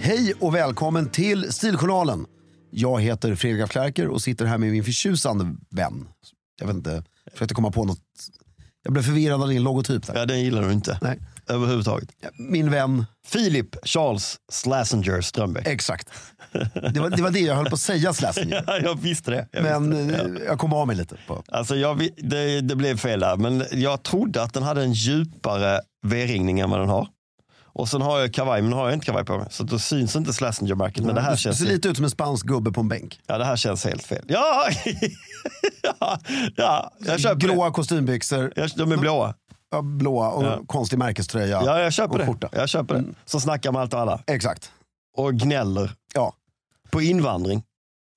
Hej och välkommen till Stiljournalen. Jag heter Fredrik af Klerker och sitter här med min förtjusande vän. Jag vet inte, jag försökte komma på något. Jag blev förvirrad av din logotyp. Där. Ja, den gillar du inte. Nej. Överhuvudtaget. Min vän, Filip Charles Slazenger Strömbäck. exakt. Det var det, var det jag höll på att säga Slazenger. Ja, jag visste det. Jag Men visste det. eh, jag kom av mig lite. På. Ja. Alltså, jag, vi- det, det blev fel där, men jag trodde att den hade en djupare V-ringning än vad den har. Och sen har jag kavaj, men nu har jag inte kavaj på mig. Så då syns inte Slazenger-märket. Men det här, Du känns, ser lite ut som en spansk gubbe på en bänk. ja, det här känns helt fel. Ja, ja, ja jag köper det. Gråa kostymbyxor, Jag, de är blåa. ja, blåa och konstig märkeströja. Ja, jag köper och det. skjorta. Mm. Jag köper det. Så snackar man allt och alla. Exakt. Och gnäller Ja. på invandring.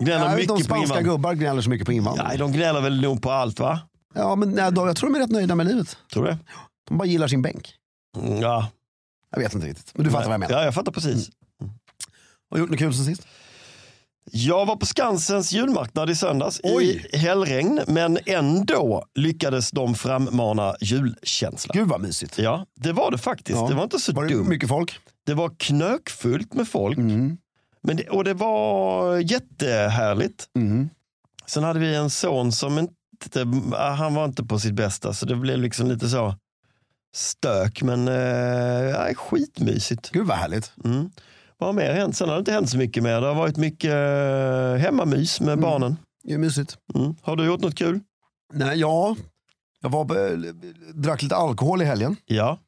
Gnäller Nej, de mycket på spanska invandring. gubbar gnäller så mycket på invandring. Nej, de gnäller väl nog på allt va? Ja, men, nej, de, jag tror de är rätt nöjda med livet. Tror du det? De bara gillar sin bänk. Mm, Ja, Jag vet inte riktigt, men du fattar vad jag menar. Mm. Ja, jag fattar precis. Har du gjort något kul sen sist? Jag var på Skansens julmarknad i söndags Oj. i hällregn, men ändå lyckades de frammana julkänsla. Gud vad mysigt. Ja, det var det faktiskt. Ja. Det var inte så Var det dumt. mycket folk? Det var knökfullt med folk Mm. men det, och det var jättehärligt. Mm. Sen hade vi en son som inte, ah, han var inte på sitt bästa så det blev liksom lite så stök men eh, nej, skitmysigt. Gud vad härligt. Mm. Vad har mer hänt? Sen har det inte hänt så mycket mer. Det har varit mycket eh, hemmamys Mm. med barnen. Det är mysigt. Mm. Har du gjort något kul? Nej, ja, jag var, på- eh, drack lite alkohol i helgen Ja.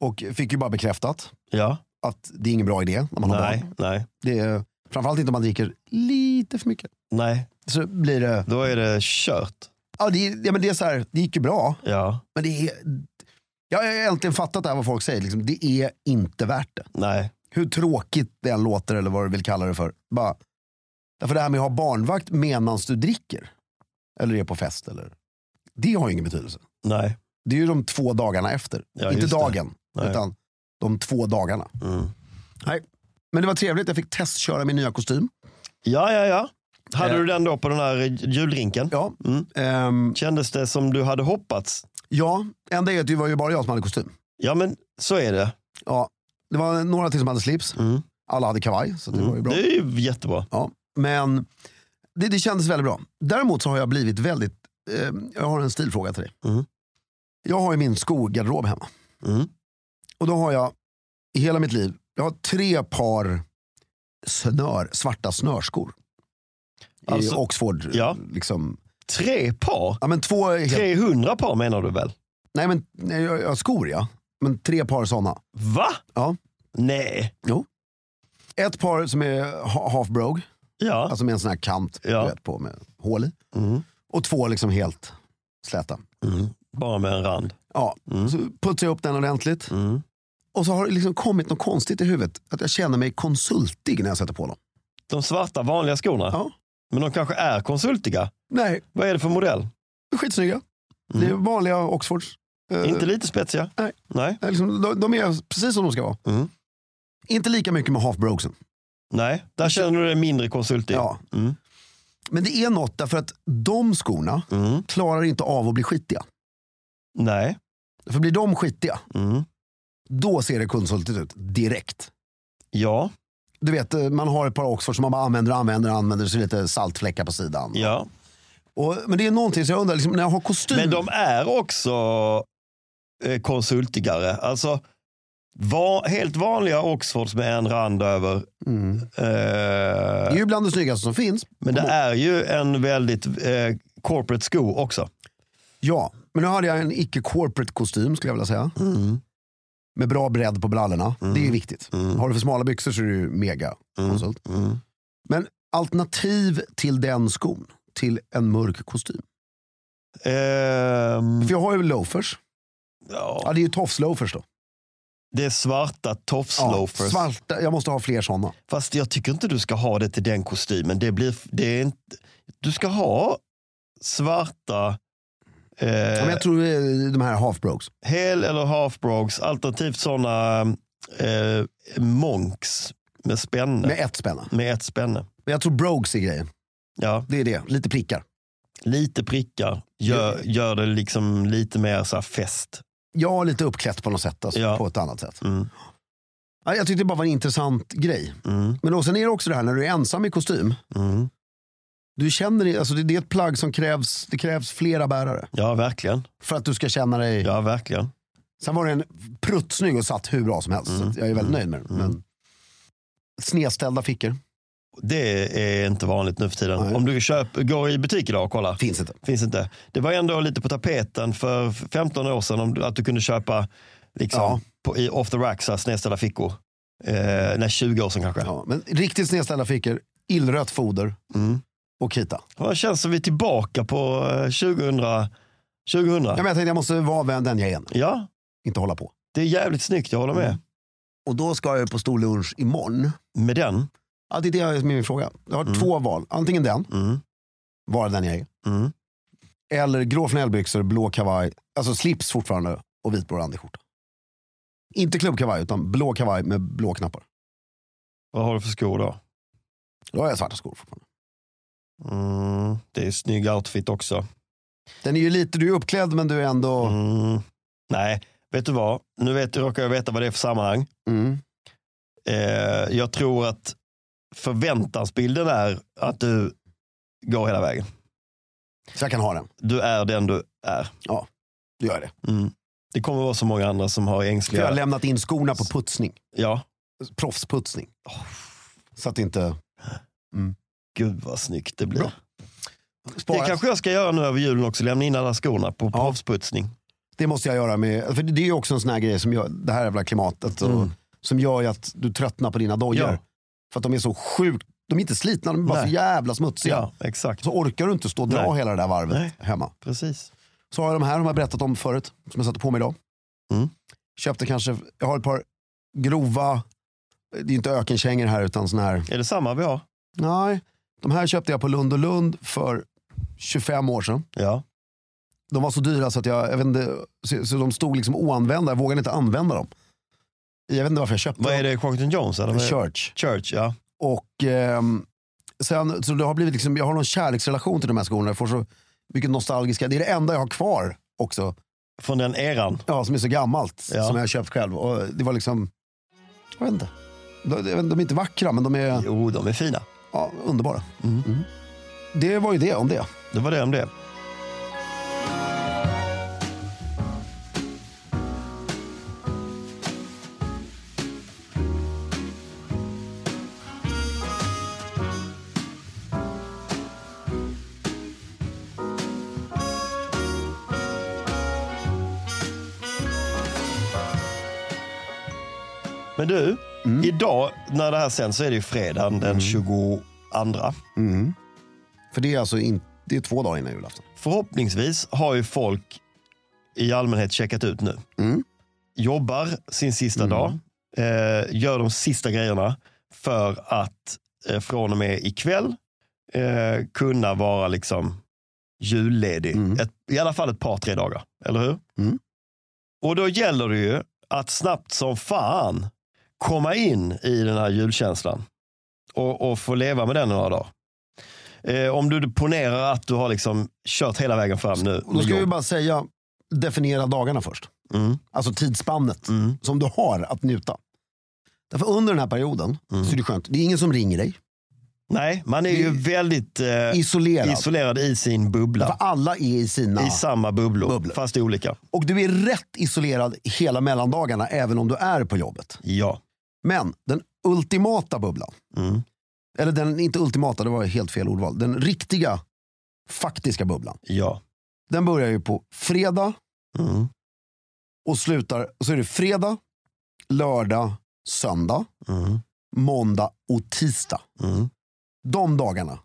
och fick ju bara bekräftat Ja. att det är ingen bra idé när man har Nej. barn. Nej. Det är, framförallt inte om man dricker lite för mycket. Nej. Så blir det, Då är det kört. ja, det, ja, men det, är så här, det gick ju bra, Ja. men det är, jag har äntligen fattat det här vad folk säger. Liksom, det är inte värt det. Nej. Hur tråkigt det än låter eller vad du vill kalla det för. Bara, därför det här med att ha barnvakt medan du dricker. Eller är på fest. Eller, det har ju ingen betydelse. Nej. Det är ju de två dagarna efter. Ja, inte just det. dagen, Nej. utan de två dagarna. Mm. Men det var trevligt, jag fick testköra min nya kostym. Ja, ja, ja. Hade Eh. du den då på den här julrinken? Ja, Mm. ehm, Kändes det som du hade hoppats? ja enda är att det var ju bara jag som hade kostym. Ja, men så är det. Ja, det var några till som hade slips, Mm. alla hade kavaj, så det var ju Mm. bra. Det är ju jättebra. Ja, men det, det kändes väldigt bra. Däremot så har jag blivit väldigt, eh, ehm, jag har en stilfråga till dig. Mm. Jag har ju min skogarderob hemma. Mm. Och då har jag i hela mitt liv, jag har tre par snör, svarta snörskor. Alltså- I Oxford. Ja. Liksom. Tre par? Ja, men två är helt, 300 par menar du väl? nej, men, nej, jag, jag har skor ja. Men tre par sådana. Va? Ja. Nej. Jo. Ett par som är ha- half brogue, Ja. alltså med en sån här kant Ja. du vet, på med hål i. Mm. Och två liksom helt släta. Mm. Bara med en rand. Ja, så putsar jag upp den ordentligt. Mm. Och så har det liksom kommit något konstigt i huvudet. Att jag känner mig konsultig när jag sätter på dem. De svarta vanliga skorna. Ja. Men de kanske är konsultiga. Nej, Vad är det för modell? skitsnygga. Det Mm. är vanliga Oxfords. Eh, Inte lite spetsiga? nej. Nej. liksom, de, de är precis som de ska vara. Mm. Inte lika mycket med half brokesen. Nej. Där känner du dig mindre konsultig. Ja. Mm. Men det är något därför att de skorna Mm. klarar inte av att bli skitiga. Nej. För blir de skitiga, Mm. då ser det konsultigt ut direkt. Ja. Du vet, eh, man har ett par Oxfords som man bara använder och använder och använder. Så är det lite saltfläckar på sidan. ja. Och, men det är någonting som jag undrar, liksom, när jag har kostym. Men de är också eh, konsultigare. Alltså, va, helt vanliga Oxfords med en rand över. Mm. Eh, Det är ju bland det snyggaste som finns. men det är ju en väldigt eh, corporate sko också. Ja, men nu hade jag en icke-corporate kostym skulle jag vilja säga. Mm. Med bra bredd på brallorna. Det är viktigt. Har du för smala byxor så är du ju mega Mm. konsult. Men alternativ till den skon, till en mörk kostym. Ehm, För jag har ju loafers. Ja, ja, det är ju tofsloafers då. det är svarta Ja, tofsloafers. svarta, jag måste ha fler sådana. Fast jag tycker inte du ska ha det till den kostymen. Det blir, det är inte, du ska ha svarta Ja, eh, men jag tror det är de här halfbrokes. hel eller halfbrogs, alternativt sådana eh, monks med spänne. Med ett spänne. Med ett spänne. Men jag tror brogues är grejen. Ja, Det är det. Lite prickar. lite prickar gör, gör det liksom lite mer så här fest. Jag har lite uppklätt på något sätt. Alltså, Ja. På ett annat sätt. Mm, Ja, Jag tyckte det bara var en intressant grej. mm, Men då, sen är det också det här när du är ensam i kostym. mm. Du känner, alltså det, det är ett plagg som krävs, det krävs flera bärare Ja, verkligen. för att du ska känna dig... Ja, verkligen. Sen var den pruttsnygg och satt hur bra som helst. Mm. Så att jag är väldigt nöjd med den. Men... Snedställda fickor Det är inte vanligt nu för tiden. Nej. Om du köp, går i butik idag och kollar. finns inte. Finns inte. Det var ändå lite på tapeten för 15 år sedan om du, att du kunde köpa liksom, Ja. på, i off the rack så här snedställda fickor. Eh, nej, 20 år sedan kanske. Ja, men riktigt snedställda fickor, illrött foder Mm. och kita. Ja, Det känns som vi är tillbaka på eh, 2000. 2000. Ja, men jag tänkte jag måste vara vem- den jag är, Ja, inte hålla på. det är jävligt snyggt, jag håller med. Mm. Och då ska jag ju på stor lunch imorgon. Med den. Ja, det är det som är min fråga. Jag har två val. Antingen den, Mm. vara den jag är. Mm. Eller grå flanellbyxor, blå kavaj, alltså slips fortfarande och vit brandyskjorta. Inte klubbkavaj utan blå kavaj med blå knappar. Vad har du för skor då? Då har jag svarta skor fortfarande. Mm. Det är en snygg outfit också. Den är ju lite, du är uppklädd men du är ändå... Mm. Nej, vet du vad? Nu vet, råkar jag veta vad det är för sammanhang. Mm. Eh, jag tror att förväntansbilden är att du går hela vägen. Så jag kan ha den. Du är den du är. Du gör det. Mm. Det kommer vara så många andra som har För jag har ängsliga... lämnat in skorna på putsning. Ja, Proffsputsning. Så att inte... gud vad snyggt det blir. Bra. Det Spara. Det, kanske jag ska göra nu över julen också, lämna in alla skorna på Ja. proffsputsning. måste jag göra med... För det är ju också en sån här grej som gör, det här jävla klimatet. Och, Mm. Som gör ju att du tröttnar på dina dojor. Ja. För att de är så sjukt... De är inte slitna, de är bara Nej. så jävla smutsiga. Ja, exakt. Så orkar du inte stå och dra Nej. hela det där varvet Nej. hemma. Precis. Så har jag de här, de har jag berättat om förut, som jag satte på mig idag. Mm. Köpte kanske, jag har ett par grova, det är inte ökenkängor här utan sån här. Är det samma vi har? Nej, de här köpte jag på Lund och Lund för 25 år sedan. Ja. De var så dyra så att jag, jag vet inte, så, så de stod liksom oanvända, jag vågade inte använda dem. Jag vet inte varför jag köpte Vad är det? Crockton Jones? Eller? dem. vad är det? Church. Church, ja. Och ehm, sen, så det har blivit liksom, jag har någon kärleksrelation till de här skorna. Jag får så mycket nostalgiska, det är det enda jag har kvar också. Från den eran. Ja, som är så gammalt. Ja. Som jag har köpt själv. Och det var liksom, jag vet inte. De, de de är inte vackra, men de är Jo, de är fina. ja, underbara. Mm. Det var ju det om det. Det var det om det. Men du, idag när det här sänds så är det ju fredagen den 22. För det är alltså in, det är två dagar innan julafton. Förhoppningsvis har ju folk i allmänhet checkat ut nu. Jobbar sin sista dag, eh, gör de sista grejerna för att eh, från och med ikväll eh, kunna vara liksom julledig. Ett, I alla fall ett par, tre dagar. Eller hur? Mm. Och då gäller det ju att snabbt som fan komma in i den här julkänslan och, och få leva med den några dagar. Eh, om du ponerar att du har liksom kört hela vägen fram nu. Och då med ska vi jobb. bara säga, definiera dagarna först. Mm. Alltså tidsspannet Mm. som du har att njuta. Därför under den här perioden Mm. så är det skönt. Det är ingen som ringer dig. Nej, man är ju väldigt eh, Isolerad. isolerad i sin För bubbla. alla är i sina... I samma bubblor, Bubblor. fast i olika. Och du är rätt isolerad hela mellandagarna även om du är på jobbet. Ja. Men den ultimata bubblan. Mm. Eller den, inte ultimata, det var helt fel ordval. Den riktiga, faktiska bubblan. Ja. Den börjar ju på fredag Mm. och slutar, och så är det fredag, lördag, söndag, Mm. måndag och tisdag. Mm. De dagarna,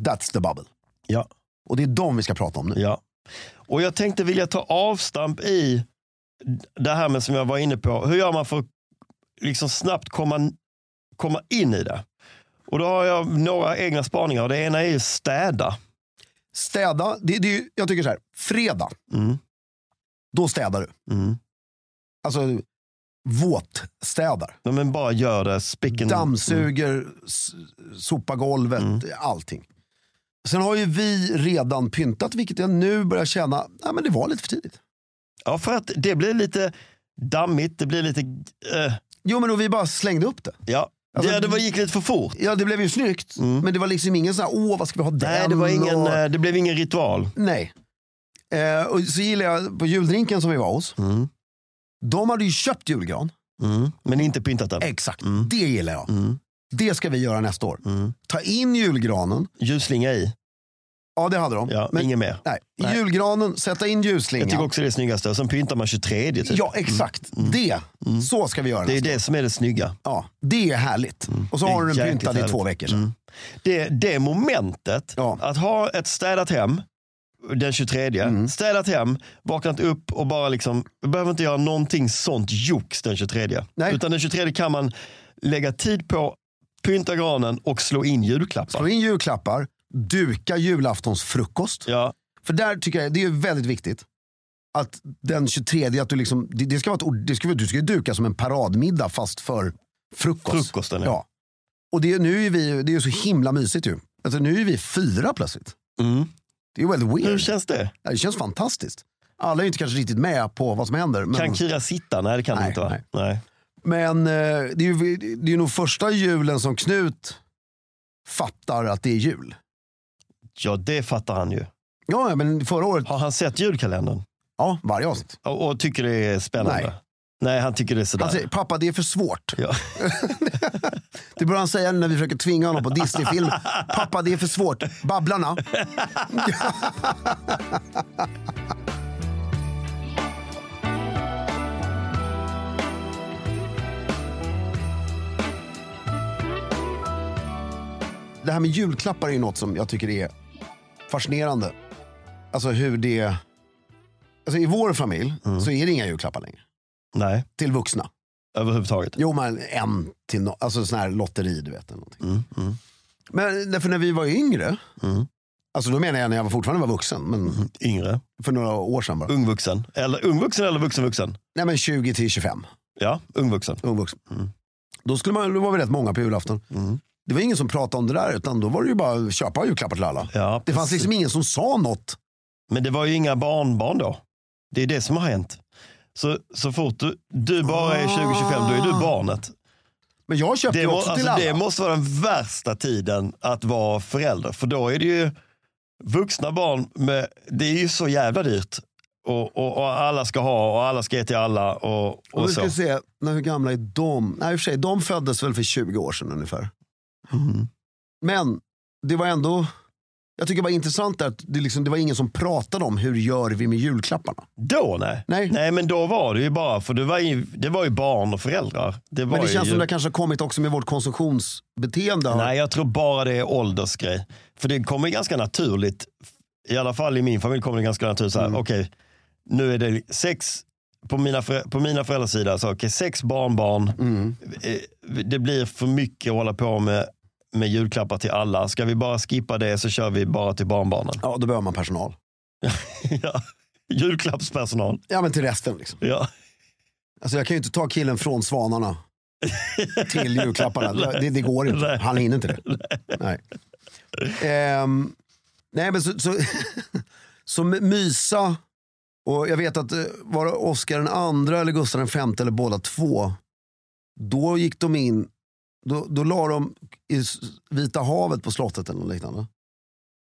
that's the bubble. Ja. Och det är de vi ska prata om nu. Ja. Och jag tänkte vilja ta avstamp i det här med som jag var inne på. Hur gör man för att liksom snabbt komma, komma in i det? Och då har jag några egna spaningar. Det ena är ju städa. Städa, det, det, är ju- jag tycker så här, fredag, Mm. då städar du. Mm. Alltså våtstädar. Ja, Men bara gör det. Spicken. Dammsuger, s- sopar golvet, Mm. allting. Sen har ju vi redan pyntat, vilket jag nu börjar känna, nej men det var lite för tidigt. Ja, för att det blir lite dammigt. Det blir lite... eh, Jo men och vi bara slängde upp det. ja. Alltså, det, det var, gick lite för fort. Ja det blev ju snyggt, men det var liksom ingen sån här, åh vad ska vi ha den? Mm. Nej, det, var ingen, och... eh, det blev ingen ritual. Nej. Eh, och så gillar jag, på juldrinken som vi var hos, Mm. de hade ju köpt julgran. Mm. Men inte pyntat den. Exakt, det gillar jag. Mm. Det ska vi göra nästa år. Mm. Ta in julgranen, Ljusslinga i. ja det hade de. Ja, men, Inget mer. nej. Nej. Julgranen, sätta in Jag ljusslingan. tycker också det är snyggast. Och sen pyntar man 23. Typ. Mm. Ja, exakt. Det. Så ska vi göra Det är nästa. det som är det snygga. Ja, det är härligt. Och så Det är har du den jäkligt pyntad i härligt. Mm. två veckor sedan. Det, det momentet, Ja. att ha ett städat hem den 23, Mm. städat hem, vaknat upp och bara liksom, jag behöver inte göra någonting sånt jox den 23. Nej. Utan den 23 kan man lägga tid på, pynta granen och slå in julklappar. Slå in julklappar, duka julaftonsfrukost. Ja, För där tycker jag det är väldigt viktigt. Att den 23, att du liksom, det, det ska vara ett, ord- det ska, vara- du ska ju duka som en paradmiddag fast för frukost. frukosten. ja. Ja. Och det, nu är vi, det är ju så himla mysigt ju. Alltså, nu är vi fyra plötsligt. Mm. Det är ju väldigt Hur weird. känns det? Ja, Det känns fantastiskt. Alla är ju inte kanske riktigt med på vad som händer. Men... Kan Kira sitta? Nej, det kan Mm. Nej, hon inte. Va? nej. Nej. Men eh, det är ju det är ju nog första julen som Knut fattar att det är jul. Ja, det fattar han ju. Ja, ja, men förra året, Har han sett julkalendern? ja, varje avsnitt. Och, och tycker det är spännande? Nej. Alltså- Nej, han tycker det är sådär. Han säger, pappa det är för svårt. ja. Det börjar han säga när vi försöker tvinga honom på Disney-film. pappa det är för svårt. Babblarna. Det här med julklappar är ju något som jag tycker är fascinerande. Alltså hur det... Alltså I vår familj så är det inga julklappar längre. Nej, Till vuxna. överhuvudtaget. Jo, men en till no- alltså sån här lotteri du vet. Eller någonting. Mm, Men därför när vi var yngre, alltså då menar jag när jag var- fortfarande var vuxen, men Mm. Yngre. för några år sedan bara. Mm. Ungvuxen. Eller ungvuxen eller vuxenvuxen? Nej men 20 till 25, Ja, ungvuxen. ung vuxen. Mm. Då, skulle man, då var vi rätt många på julafton. Det var ingen som pratade om det där, utan då var det ju bara att köpa julklappar till alla. Ja, Det fanns precis. liksom ingen som sa något. Men det var ju inga barnbarn då. Det är det som har hänt. Så, så fort du, du bara är 20-25, då är du barnet. Men jag köpte Det, ju må, Ah. också till alltså, alla. det måste vara den värsta tiden att vara förälder. För då är det ju vuxna barn, med, det är ju så jävla dyrt. Och, och, och alla ska ha och alla ska ge till alla. Och, Och och vi så. ska se, när, hur gamla är de? Nej, i och för sig, de föddes väl för 20 år sedan ungefär. Men det var ändå Jag tycker bara det är intressant att det, liksom, det var ingen som pratade om hur gör vi med julklapparna. Då nej. Nej. men då var det ju bara, för det var ju, det var ju barn och föräldrar. Det var Men det känns ju, som det kanske har kommit också med vårt konsumtionsbeteende. Nej, jag tror bara det är åldersgrej. För det kommer ju ganska naturligt, i alla fall i min familj kommer det ganska naturligt så här, okej, nu är det sex, på mina, förä- på mina föräldrars sida, så okej, sex barnbarn, Eh, det blir för mycket att hålla på med, med julklappar till alla. Ska vi bara skippa det så kör vi bara till barnbarnen. Ja, då behöver man personal. ja. Julklappspersonal. Ja, men till resten liksom. Ja. Alltså jag kan ju inte ta killen från svanarna till julklapparna. Det, det går inte. Nej. Han hinner inte det. Nej, Ehm, nej men så, så, så mysa. Och jag vet att eh, var det Oscar den andra eller Gustav den femte eller båda två. Då gick de in. Då, då la de i s- Vita havet på slottet eller något liknande.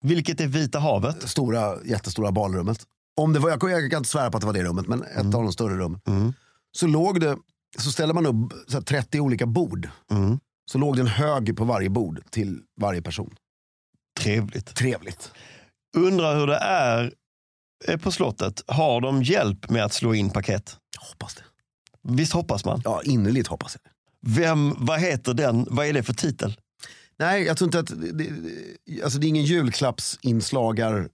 Vilket är Vita havet. Stora, jättestora balrummet. Om det var, jag, kan- jag kan inte svära på att det var det rummet, men ett Mm. av de större rummen så låg det, så ställer man upp så här, 30 olika bord. Mm. Så låg det en hög på varje bord till varje person. Trevligt. Trevligt. Undrar hur det är eh, på slottet. Har de hjälp med att slå in paket? Jag hoppas det. Visst hoppas man? Ja, innerligt hoppas jag det. Vem, vad heter den? Vad är det för titel? Nej, jag tror inte att, det, det- alltså det är ingen julklappsinslagarmästare.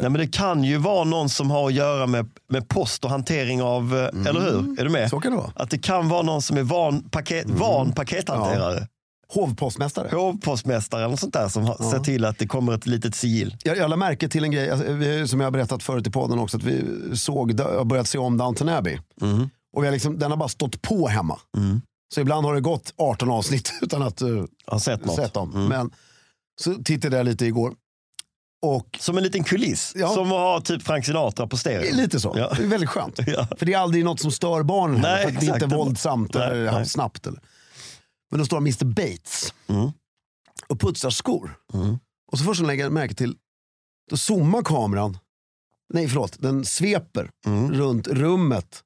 Nej, men det kan ju vara någon som har att göra med, med post och hantering av, eh, eller hur? Är du med? Mm. Så Mm. kan det vara. Att det kan vara någon som är van, paket, van pakethanterare. Hovpostmästare. Hovpostmästare eller något sånt där som har, ser till att det kommer ett litet sigill. Jag, jag lade märke till en grej alltså, vi- som jag har berättat förut i podden också. Att vi såg, jag har börjat se om Downton Abbey. Och vi har liksom, den har bara stått på hemma. Så ibland har det gått 18 avsnitt utan att eh, Har sett något. sett dem. Men så tittade jag lite igår. Och Som en liten kuliss. Ja. Som att ha typ Frank Sinatra det är på stereo. lite så. Ja. Det är väldigt skönt. Ja. För det är aldrig något som stör barnen. Nej, heller, för att det är inte exakt. våldsamt Nej, eller nej. snabbt. Eller. Men då står Mr Bates Mm. och putsar skor. Och så först lägger jag märke till, då zoomar kameran, nej förlåt, den sveper Mm. runt rummet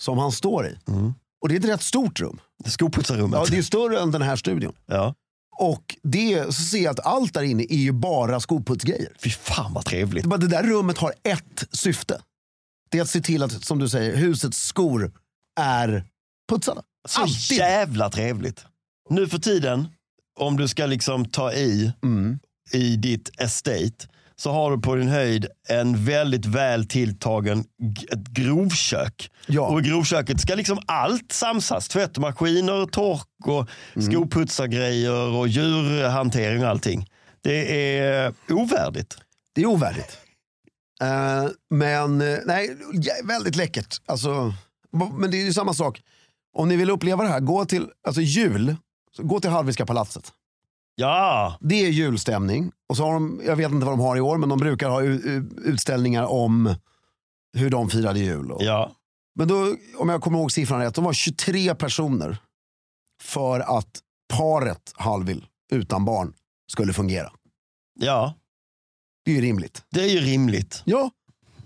som han står i. Mm. Och det är ett rätt stort rum. Skoputsarrummet. Ja, det är större än den här studion. Ja. Och det, så ser jag att allt där inne är ju bara skoputsgrejer. Fy fan vad trevligt. Det är bara Det där rummet har ett syfte. Det är att se till att, som du säger, husets skor är putsade. Så Alltid. jävla trevligt. Nu för tiden, om du ska liksom ta i, Mm. i ditt estate, så har du på din höjd en väldigt väl tilltagen g- ett grovkök. Ja. Och i grovköket ska liksom allt samsas. Tvättmaskiner, tork och Mm. skoputsargrejer och djurhantering och allting. Det är ovärdigt. Det är ovärdigt. Eh, men eh, nej, jä- väldigt läckert. Alltså, b- men det är ju samma sak. Om ni vill uppleva det här, gå till alltså jul. så Gå till Harviska palatset. Ja, Det är julstämning. Och så har de, jag vet inte vad de har i år, men de brukar ha u- u- utställningar om hur de firade jul. Och, ja. Men då, om jag kommer ihåg siffran rätt, de var 23 personer för att paret Hallwyl utan barn skulle fungera. ja. Det är ju rimligt. Det är ju rimligt. Ja,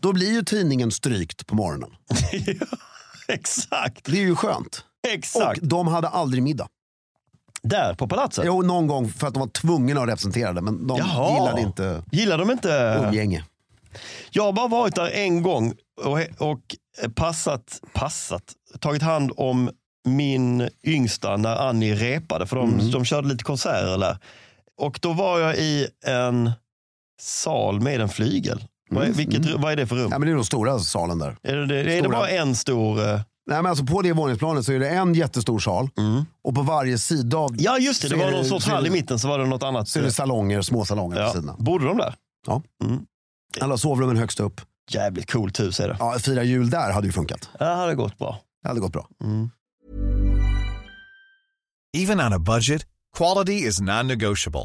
då blir ju tidningen strykt på morgonen. exakt, Det är ju skönt. exakt. Och de hade aldrig middag. Där på palatset. Jo, någon gång för att de var tvungna att representera det, men de Jaha. Äh. gillade inte Gillar de inte? umgänge. Jag har bara varit där en gång och, och passat, passat, tagit hand om min yngsta när Annie repade, för de, Mm. de körde lite konserter där. Och då var jag i en sal med en flygel. Vad, är, vilket, ru- vad är det för rum? Mm, Ja, men det är den stora salen där. Är det, det, är det stora. bara en stor... eh, Nej, men alltså på det våningsplanet så är det en jättestor sal och på varje sida av Mm. Ja just det, det Så var är någon sorts så är hall i det- mitten så var det något annat. eh, så är det salonger, små salonger på ja. sidorna. Bodde de där? Ja. Mm. Alla sovrummen högst upp. Jävligt coolt hus är det. Ja, fira jul där hade ju funkat. Det hade gått bra. Det hade gått bra. Even on a budget, quality is non-negotiable.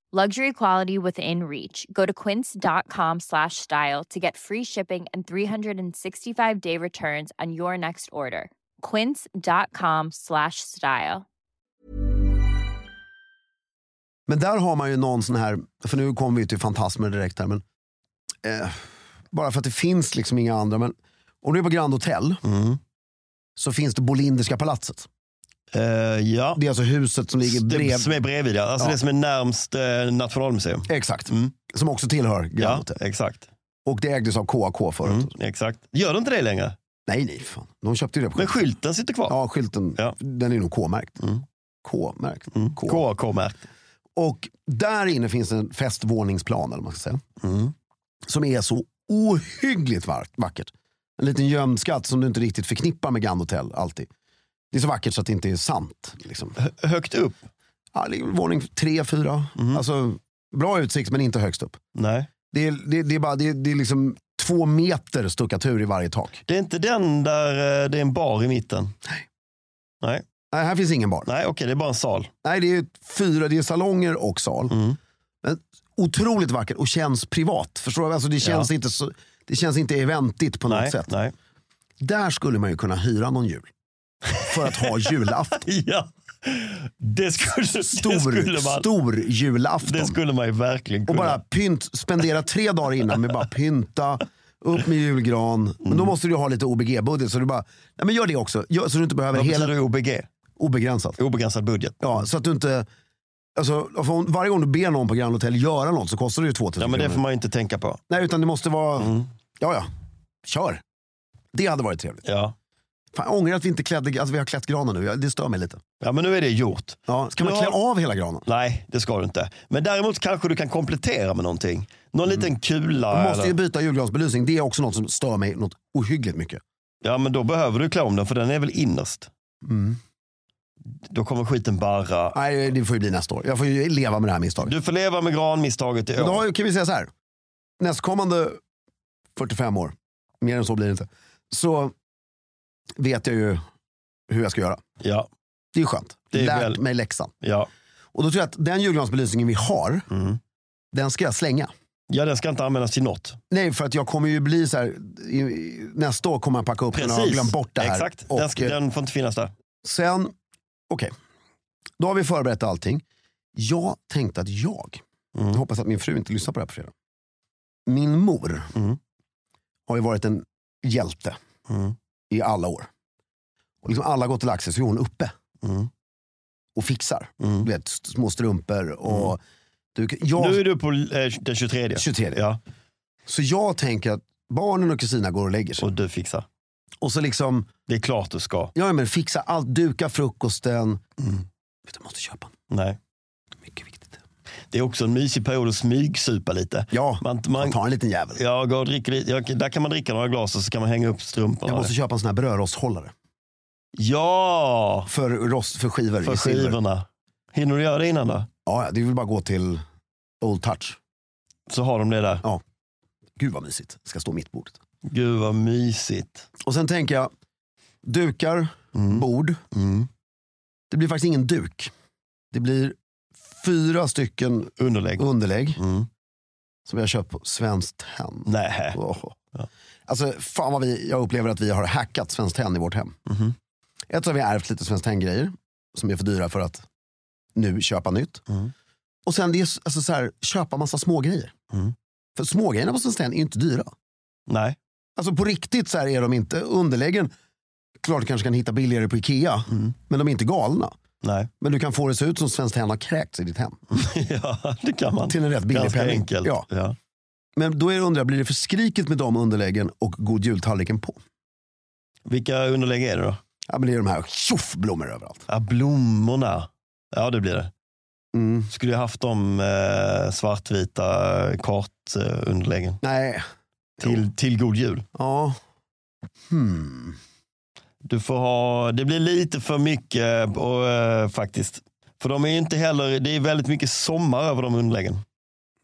Luxury quality within reach. Go to quince.com slash style to get free shipping and 365 day returns on your next order. Quince.com slash style. Men där har man ju någon sån här, för nu kommer vi till fantasmer direkt här, men eh, bara för att det finns liksom inga andra. Men om du är på Grand Hotel Mm. så finns det Bolinderska palatset. Eh, ja, Det är alltså huset som ligger det bredvid. som är bredvid ja. Alltså Ja. det som är närmst eh, Nationalmuseum. Exakt. Mm. Som också tillhör Grand Ja, Hotel. exakt. Och det ägdes av KAK förut. Mm, exakt. Gör det inte det längre? Nej, nej. Fan. De köpte ju det på Men skylten sitter kvar. Ja, skylten. Ja. Den är nog K-märkt. Mm. K-märkt. Mm. K. KAK-märkt. Och där inne finns en festvåningsplan, eller vad man ska säga. Mm. Som är så ohyggligt var- vackert. En liten gömd skatt som du inte riktigt förknippar med Grand Hotel alltid. Det är så vackert så att det inte är sant. Liksom. Hö- Högt upp? Ja, det är våning tre, fyra. Alltså, bra utsikt men inte högst upp. Nej. Det är, det, det är, bara, det är, det är liksom två meter stuckatur i varje tak. Det är inte den där eh, det är en bar i mitten? Nej. Nej, Nej, här finns ingen bar. Nej okej, det är bara en sal. Nej, det är fyra, det är salonger och sal. Mm. Men otroligt vackert och känns privat. Förstår du? Alltså det, känns inte så, det känns inte eventigt på något Nej, sätt. nej. Där skulle man ju kunna hyra någon jul. För att ha julafton. Ja, det skulle, det Stor, skulle man. stor julafton. Det skulle man ju verkligen Och kunna. bara pynt, spendera tre dagar innan med bara pynta, upp med julgran. Men Mm. då måste du ju ha lite OBG-budget. Så du bara, nej men gör det också. Gör, så du inte behöver Vad hela, betyder OBG? obegränsat. Obegränsad budget. Ja, så att du inte... Alltså, för om- varje gång du ber någon på Grand Hotel göra något så kostar det ju 2000 Ja, men det kronor. får Mm. man ju inte tänka på. Nej, utan det måste vara... Ja, ja. Kör. Det hade varit trevligt. Ja. Fan, jag ångrar att vi inte klädde, att vi har klätt granen nu. Jag- Det stör mig lite. ja, men nu är det gjort. Ja, ska man Ja. klä av hela granen? Nej, det ska du inte. Men däremot kanske du kan komplettera med någonting. Någon liten kula. Man Mm. måste ju eller... byta julgransbelysning. Det är också något som stör mig något ohyggligt mycket. Ja, men då behöver du klä om den för den är väl innerst. Mm. Då kommer skiten bara. Nej, det får ju bli nästa år. Jag får ju leva med det här misstaget. Du får leva med granmisstaget i Men år. Då kan vi säga så här. Nästkommande 45 år, mer än så blir det inte, så vet jag ju hur jag ska göra. Ja, Det är ju skönt. Det är Lärt väl- mig läxan. ja. Och då tror jag att den julgransbelysningen vi har, Mm. den ska jag slänga. ja, den ska inte användas till något. Nej, för att jag kommer ju bli så här, i- i, nästa år kommer jag packa upp den och ha Precis. glömt bort det här. Exakt. Och Den, ska, eh, den får inte finnas där. sen, okej. Då har vi förberett allting. Jag tänkte att jag, Mm. jag hoppas att min fru inte lyssnar på det här på fredag. Min mor Mm. har ju varit en hjälte Mm. i alla år. Och liksom alla går till Axel så är hon uppe Mm. och fixar. Mm. Du vet, st- små strumpor och... Du, jag, Nu är du på eh, den 23. 23. Ja, Så jag tänker att barnen och kusina går och lägger sig. och du fixar. Och så liksom, Det är klart du ska. ja men fixa allt, duka frukosten. Mm. Vet du, jag måste köpa en. Nej. Mycket viktigt. Det är också en mysig period att smygsupa lite. Ja, Man, man man, tar en liten jävel. ja, gå och dricker, lite. ja, där kan man dricka några glas och så kan man hänga upp strumporna. Jag måste köpa en sån här brödrosthållare. Ja, För, rost, för skivor för i silver. skivorna. Hinner du göra det innan då? Ja, ja, det vill bara att gå till Old Touch. Så har de det där. Ja. Gud vad mysigt. Ska stå mitt bordet. Gud vad mysigt. Och sen tänker jag, dukar, Mm. bord. Det blir faktiskt ingen duk. Det blir fyra stycken Underlägg. underlägg Mm. som jag köpt på Svenskt Tenn. Nej. Åh. Ja. Alltså fan vad vi, jag upplever att vi har hackat Svenskt Tenn i vårt hem. Mhm. Ett så har vi ärvt lite Svenskt Tenn-grejer som är för dyra för att nu köpa nytt. Mm. Och sen det är s- alltså, så här, köpa massa smågrejer. Mm. För smågrejerna på Svenskt Tenn är ju inte dyra. Nej. Alltså på riktigt så här är de inte. Underläggen, klart du kanske kan hitta billigare på Ikea. Mm. Men de är inte galna. Nej. Men du kan få det se ut som Svenskt Tenn har kräkts i ditt hem. ja, det kan man. Till en rätt billig Ganska penning. enkelt. Ja. Ja. Men då är det undrar, blir det för skrikigt med de underläggen och god jultallriken på? Vilka underlägg är det då? Ja, men det är de här tjoff, blommor överallt. Ja, blommorna. Ja, det blir det. Mm. Skulle jag haft de eh, svartvita kartunderläggen. Nej, eh, till, till god jul. Ja. Hmm. Du får ha, det blir lite för mycket och, eh, faktiskt. För de är ju inte heller, det är väldigt mycket sommar över de underläggen.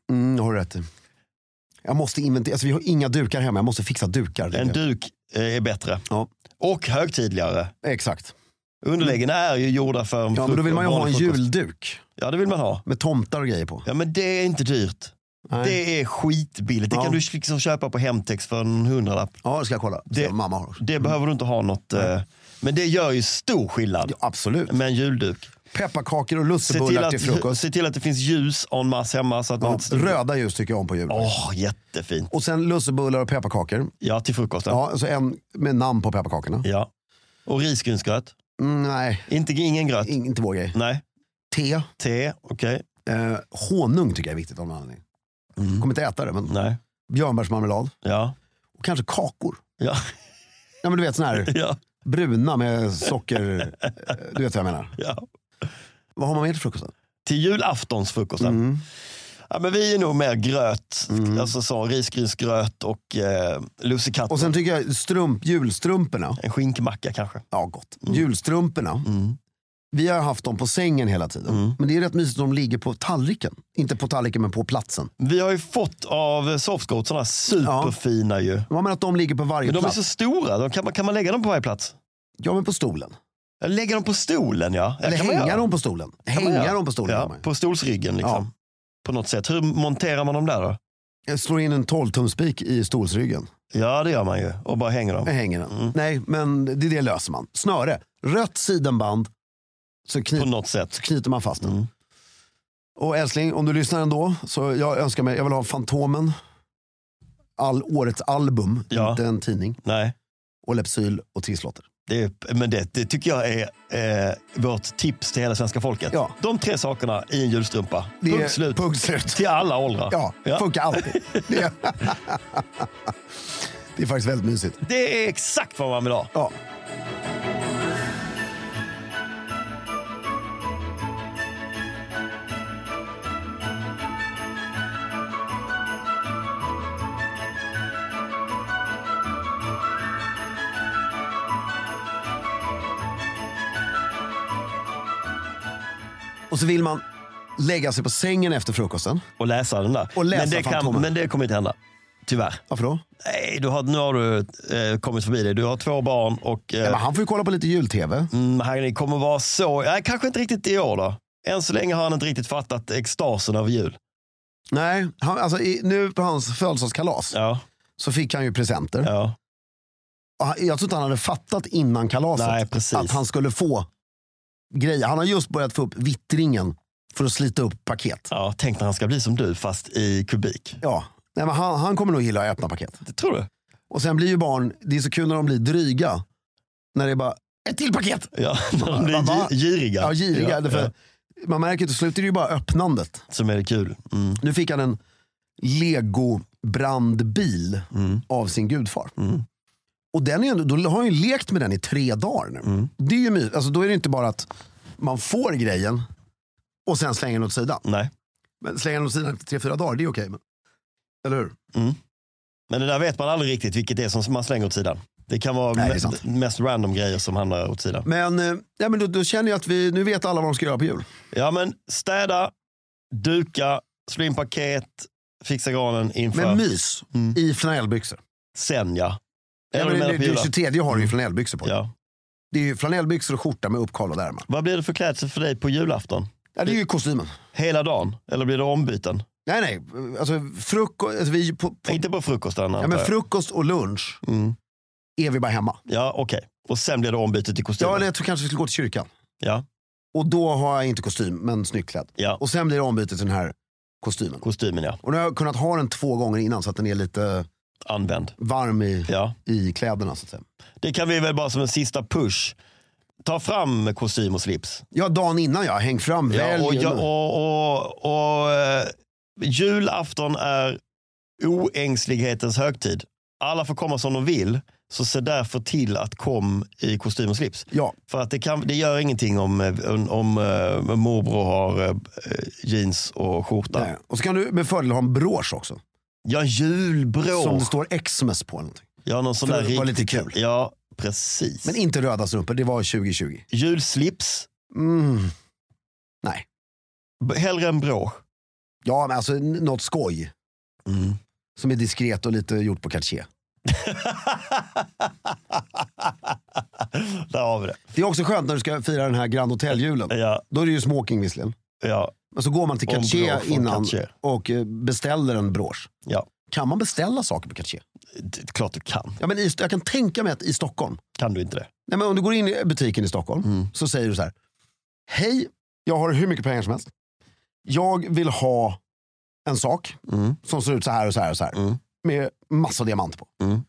Mm, det har du rätt i. Jag måste inventera, alltså vi har inga dukar hemma, jag måste fixa dukar. Det är En det. duk eh, är bättre. Ja. Och högtidligare. Exakt. Underläggen är ju gjorda för en Mm. Ja, men då frukt- vill man ju och ha en barnfrukost. julduk Ja, det vill man ha. med tomtar och grejer på. Ja, men det är inte dyrt. Nej. Det är skitbilligt. Det Ja. kan du liksom köpa på Hemtex för en hundralapp. Ja, det ska jag kolla. Det... Det- Se vad mamma har. Det behöver du inte ha något. Eh, men det gör ju stor skillnad Ja, absolut. med en julduk. Pepparkakor och Se till, lussebullar till att, frukost. se till att det finns ljus en masse hemma. Så att man Ja, inte... röda ljus tycker jag om på jul. Åh, jättefint. Och sen lussebullar och pepparkakor. Ja, till frukosten. Ja. Ja, alltså en med namn på pepparkakorna. Och risgrynsgröt. Mm, nej, Inte, ingen gröt. in, inte vår grej. Nej. Te. Te, okej. Eh, honung tycker jag är viktigt av någon anledning. Mm. Kommer inte äta det, men Nej. björnbärsmarmelad. Ja. Och kanske kakor. Ja. Ja, men du vet sån här ja. bruna med socker. eh, du vet vad jag menar. ja. Vad har man mer till frukosten? Till julaftonsfrukosten. Mm. Ja, men vi är nog mer gröt. Alltså så, risgrynsgröt och eh, lussekatter. Och sen tycker jag strump, julstrumporna. En skinkmacka kanske. Ja, gott. Julstrumporna. Mm. Vi har haft dem på sängen hela tiden. Men det är rätt mysigt att de ligger på tallriken. Inte på tallriken, men på platsen. Vi har ju fått av softgoat sådana superfina ju. Ja, men att de ligger på varje Men de är plats. så stora. De kan, man- kan man lägga dem på varje plats? Ja, men på stolen. Eller Lägga dem på stolen ja. Ja, Eller kan man hänga göra. dem på stolen. Kan man Hänga göra. dem på stolen. kan Ja, man ju. på stolsryggen liksom. Ja. På något sätt. Hur monterar man dem där då? Jag slår in en 12-tumsspik i stolsryggen. Ja det gör man ju. Och bara hänger Jag dem. hänger den. Nej, men det, det löser man. Snöre. Rött sidenband. Så, kni- På något sätt. så knyter man fast den. Mm. Och älskling, om du lyssnar ändå. Så jag önskar mig, jag vill ha Fantomen. All, årets album, Ja. inte en tidning. Nej. Och Lepsyl och Trisslotter. Det, är- men det, det tycker jag är eh, vårt tips till hela svenska folket. Ja. De tre sakerna i en julstrumpa. Det är- Punkt slut. Punkt slut. Till alla åldrar. Ja, funkar alltid. Det, det är faktiskt väldigt mysigt. Det är exakt vad man vill ha. Ja. Och så vill man lägga sig på sängen efter frukosten. Och läsa den där. Och läsa men, det Fantomen. men det kommer inte hända. Tyvärr. Varför då? Nej, du har, nu har du eh, kommit förbi det. Du har två barn och eh, Ja, men han får ju kolla på lite jul-tv. mm, han kommer vara så... Nej, kanske inte riktigt i år då. Än så länge har han inte riktigt fattat extasen över jul. Nej, han, alltså, i, nu på hans födelsedagskalas Ja, så fick han ju presenter. ja. Och han- Ah, Jag tror inte han hade fattat innan kalaset Nej, precis. att han skulle få grejer. Han har just börjat få upp vittringen för att slita upp paket. ja tänk när han ska bli som du fast i kubik. Ja, Nej, men han, han kommer nog gilla att öppna paket. Det tror du? Och sen blir ju barn, det är så kul när de blir dryga. När det är bara, ett till paket! Ja, de blir Va, va? gi- giriga. Ja, giriga. Ja, därför ja, Man märker till slut är det ju bara öppnandet. som är det kul. Mm, Nu fick han en Lego-brandbil mm, av sin gudfar. mm. Och den är, ju ändå- då har han ju lekt med den i tre dagar nu. Mm. Det är ju mysigt. Alltså, då är det inte bara att man får grejen och sen slänger den åt sidan. Nej, Men slänger den åt sidan efter tre, fyra dagar, det är okej. Men... Eller hur? men det där vet man aldrig riktigt vilket det är som man slänger åt sidan. Det kan vara Nej, det är me- sant. mest random grejer som hamnar åt sidan. Men, eh, ja, men då, då känner jag att vi, nu vet alla vad de ska göra på jul. Ja, men städa, duka, slå in paket, fixa granen inför. Med mys Mm. i flanellbyxor. Sen ja. Ja, Eller men menar det, på det, julen. 23 har du ju flanellbyxor på. Mm. Ja. Det är ju flanellbyxor och skjorta med uppkavlade ärmar. Vad blir det för klädsel för dig på julafton? Ja, det är ju kostymen. Hela dagen? Eller blir det ombyten? Nej, nej. Alltså, frukost, alltså, vi, på, på, Inte på frukosten ja, men frukost och lunch mm. är vi bara hemma. Ja, okej. Och sen blir det ombyte till kostymen? Ja, eller jag tror kanske vi skulle gå till kyrkan. ja. Och då har jag inte kostym, men snyggt klädd. ja. Och sen blir det ombyte till den här kostymen. Kostymen ja. Och nu har jag kunnat ha den två gånger innan så att den är lite Använd. varm i, Ja. i kläderna. Så att säga. Det kan vi väl bara som en sista push. Ta fram kostym och slips. Ja, dagen innan ja. Häng fram, välj. Ja, och, ja, och, och, och, eh, julafton är oängslighetens högtid. Alla får komma som de vill, så se därför till att kom i kostym och slips. Ja. För att det, kan, det gör ingenting om, eh, om, om eh, morbror har eh, jeans och skjorta. Nej. och så kan du med fördel ha en brosch också. Ja, julbrå. Som det står Xmas på. eller Någonting. ja, någon sån För där det var riktigt- lite kul. Ja, precis. Men inte röda strumpor, det var 2020. Julslips. Mm. Nej. B- Hellre en brå. Ja, men alltså n- något skoj. Mm. Som är diskret och lite gjort på kartier. Där har vi det. Det är också skönt när du ska fira den här Grand Hotel-julen. Ja, Då är det ju smoking visserligen. ja, Men så går man till Och en Cartier brosch från innan Cartier. och eh, beställer en brosch. ja. Kan man beställa saker på Cartier? Det är klart du kan. Ja, men i, jag kan tänka mig att i Stockholm, Kan du inte det? nej, men om du går in i butiken i Stockholm Mm. så säger du så här. Hej, jag har hur mycket pengar som helst. Jag vill ha en sak Mm. som ser ut så här och så här och så här. Med massa diamanter på. Mm.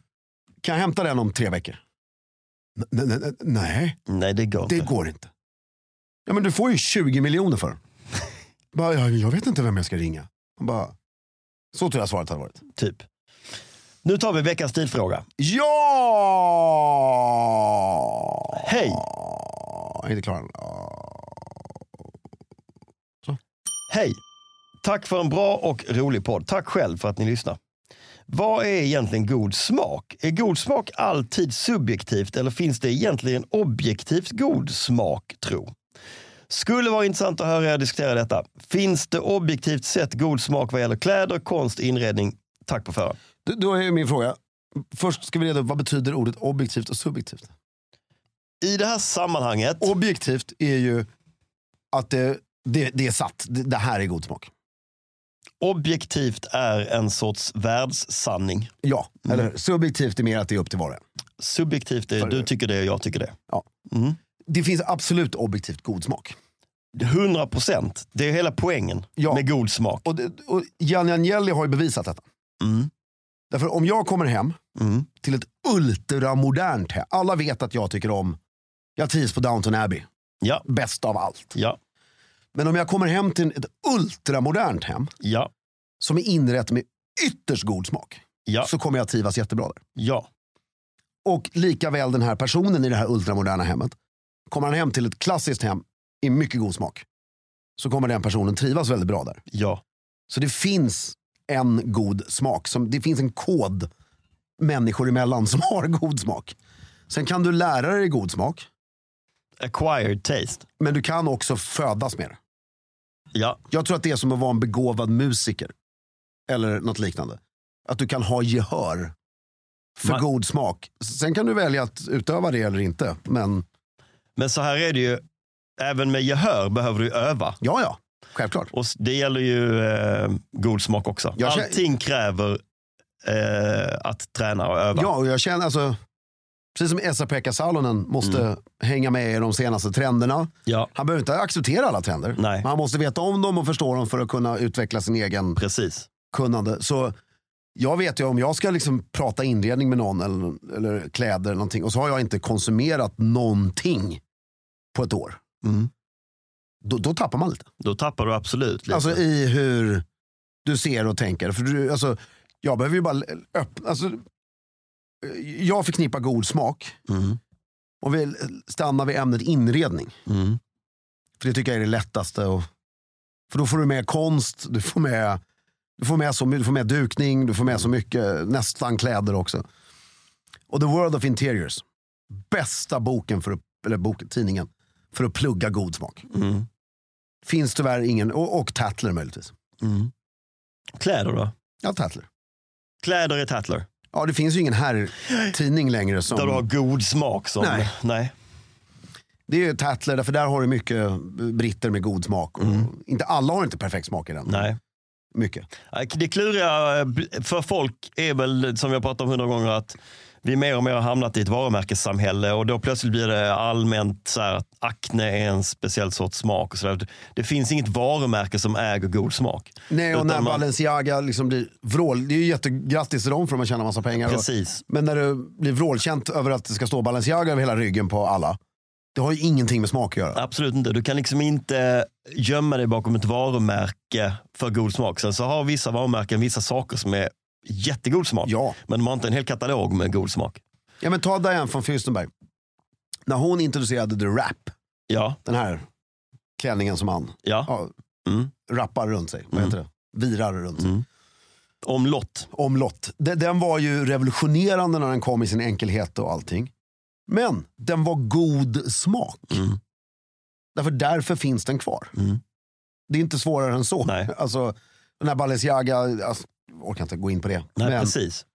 Kan jag hämta den om tre veckor? "N- n- n- Nej. Nej, det går Det inte. går inte. Ja, men du får ju 20 miljoner för den. bara, jag, jag vet inte vem jag ska ringa. Han bara, så tror jag svaret hade varit. Typ. Nu tar vi veckans tidfråga. Ja! Hej! Jag är inte klar än. Ja. Hej! Tack för en bra och rolig podd. Tack själv för att ni lyssnar. Vad är egentligen god smak? Är god smak alltid subjektivt eller finns det egentligen objektivt god smak, tro? Skulle vara intressant att höra er diskutera detta. Finns det objektivt sett god smak vad gäller kläder, konst, inredning? Tack på förhand. Då- Då är min fråga. Först ska vi reda upp vad betyder ordet objektivt och subjektivt. I det här sammanhanget... Objektivt är ju att det, det, det är satt. Det, det här är god smak. objektivt är en sorts världssanning. Ja, eller hur? Subjektivt är mer att det är upp till var och en. Subjektivt är du tycker det och jag tycker det. Det finns absolut objektivt god smak. 100 procent. Det är hela poängen Ja. med god smak. Och, det- och Gianni Agnelli har ju bevisat detta. Mm. Därför om jag kommer hem Mm. till ett ultramodernt hem. Alla vet att jag tycker om, jag trivs på Downton Abbey, Ja, bäst av allt. ja, Men om jag kommer hem till ett ultramodernt hem ja, som är inrett med ytterst god smak ja, så kommer jag trivas jättebra där. ja. Och lika väl den här personen i det här ultramoderna hemmet. Kommer han hem till ett klassiskt hem i mycket god smak så kommer den personen trivas väldigt bra där. ja. Så det finns en god smak. Som, det finns en kod människor emellan som har god smak. Sen kan du lära dig god smak, Acquired taste. men du kan också födas med det. Ja, Jag tror att det är som att vara en begåvad musiker. Eller något liknande. Att du kan ha gehör för Man- god smak. Sen kan du välja att utöva det eller inte. Men men så här är det ju. Även med gehör behöver du öva. ja, ja. Självklart. Och s- det gäller ju eh, god smak också. Jag känner- Allting kräver eh, att träna och öva. Ja, och jag känner alltså. Precis som Esa-Pekka Salonen måste hänga med i de senaste trenderna. ja. Han behöver inte acceptera alla trender. Nej. Men han måste veta om dem och förstå dem för att kunna utveckla sin egen precis. kunnande. Så jag vet ju om jag ska liksom prata inredning med någon eller, eller kläder eller någonting och så har jag inte konsumerat någonting på ett år. Då, då tappar man lite. Då tappar du absolut lite. Alltså i hur du ser och tänker. För du, alltså, jag behöver ju bara öppna. Alltså, jag förknippar god smak. Mm. Om vi stannar vid ämnet inredning. Mm. För det tycker jag är det lättaste. Och, för då får du med konst, du får med, du får med, så, my- du får med dukning, du får med så mycket, nästan kläder också. Och The World of Interiors, bästa boken, för att, eller boken, tidningen, för att plugga god smak. Mm. Finns tyvärr ingen, och, och Tatler möjligtvis. Kläder då? Ja, Tatler. Kläder är tattler. Ja, det finns ju ingen herrtidning längre. Där du har Som, god smak. Som, Mm. Nej. Nej. det är ju Tatler, därför där har du mycket britter med god smak. Och, Inte alla har inte perfekt smak i den. Mm. Nej. Mycket. Det kluriga eh, för folk är väl, som jag pratat om hundra gånger, att vi mer och mer har hamnat i ett varumärkessamhälle och då plötsligt blir det allmänt så här att akne är en speciell sorts smak. Och så där. Det finns inget varumärke som äger god smak. Nej, och Utan när man- Balenciaga liksom blir vrål... Det är ju jättegrattis till dem för att man tjänar massa pengar. Precis. Och, men när det blir vrålkänt över att det ska stå Balenciaga över hela ryggen på alla. Det har ju ingenting med smak att göra. Absolut inte. Du kan liksom inte gömma dig bakom ett varumärke för god smak. Sen så har vissa varumärken vissa saker som är jättegod smak. Ja. Men de har inte en hel katalog med god smak. ja men ta Diane von Fürstenberg. När hon introducerade The Rap, Ja, den här klänningen som han ja. ja, Mm. rappar runt sig. Vad heter det? Virar runt sig. Mm. Omlott. omlott. De- Den var ju revolutionerande när den kom i sin enkelhet och allting. Men den var god smak. Mm. Därför, därför finns den kvar. Mm. Det är inte svårare än så. Nej. Alltså, den här Balenciaga, alltså, jag orkar inte gå in på det. Nej, Men precis.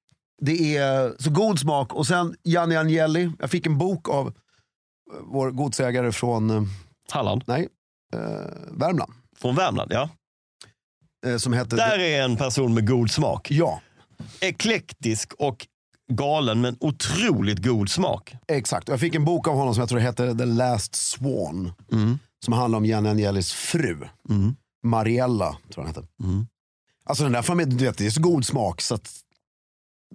det är så god smak. Och sen Gianni Agnelli. Jag fick en bok av eh, vår godsägare från eh, Halland. Värmland. Från Värmland, ja. eh, Som heter... Där är en person med god smak. Ja, Eklektisk och galen, men otroligt god smak. exakt. Jag fick en bok av honom som jag tror hette The Last Swan. Mm. som handlar om Jenny Angelis fru. Mm. Mariella, tror jag hette. Mm. Alltså den där familjen, du vet, det är så god smak så att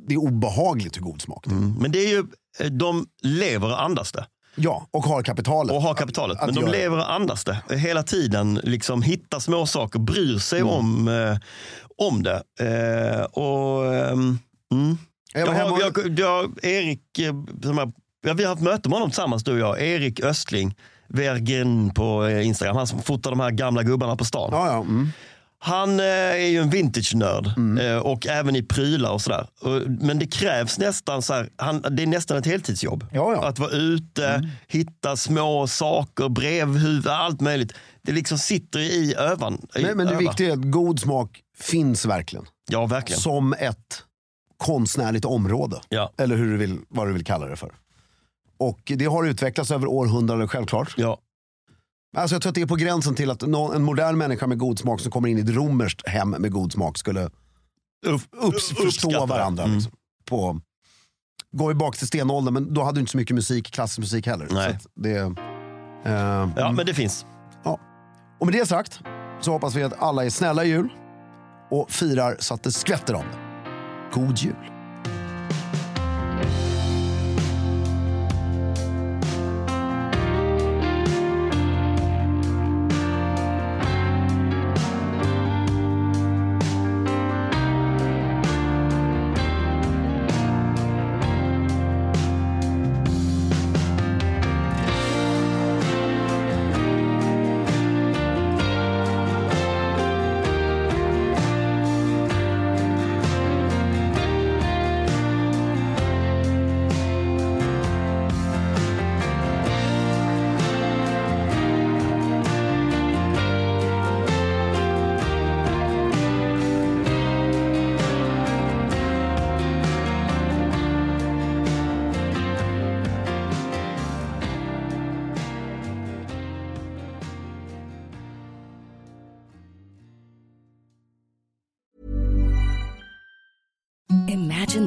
det är obehagligt hur god smak det är. Mm. Men det är ju, de lever och andas det. Ja, och har kapitalet. och har kapitalet. Att- Men att de göra. lever och andas det hela tiden. Liksom hittar små saker, bryr sig Mm. om, eh, om det. Eh, och, ehm, mm. Jag jag var hemma har, och- jag, jag, Erik, eh, som jag, ja, vi har haft möte med honom tillsammans du och jag. Erik Östling, Vergen på eh, Instagram. Han som fotar de här gamla gubbarna på stan. Ja, ja. Mm. Han eh, är ju en vintage-nörd eh, och även i prylar och sådär. Och- Men det krävs nästan så här, han, det är nästan ett heltidsjobb. Ja, Mm. ja. Att vara ute, hitta små saker, brevhuvud, allt möjligt. Det liksom sitter i övan. i Nej, men det övan. viktiga är att god smak finns verkligen. Ja, verkligen. Som ett konstnärligt område. Ja. Eller hur du vill, vad du vill kalla det för. Och det har utvecklats över århundraden självklart. Ja. Alltså jag tror att det är på gränsen till att nå- en modern människa med god smak som kommer in i ett romerskt hem med god smak skulle Upp, upps- förstå varandra. Mm. Liksom, på, gå bak till stenåldern, men då hade du inte så mycket musik, klassisk musik heller. Nej. Så att det, eh, Ja, men det finns. Och med det sagt så hoppas vi att alla är snälla i jul och firar så att det skvätter om det. God jul! Imagine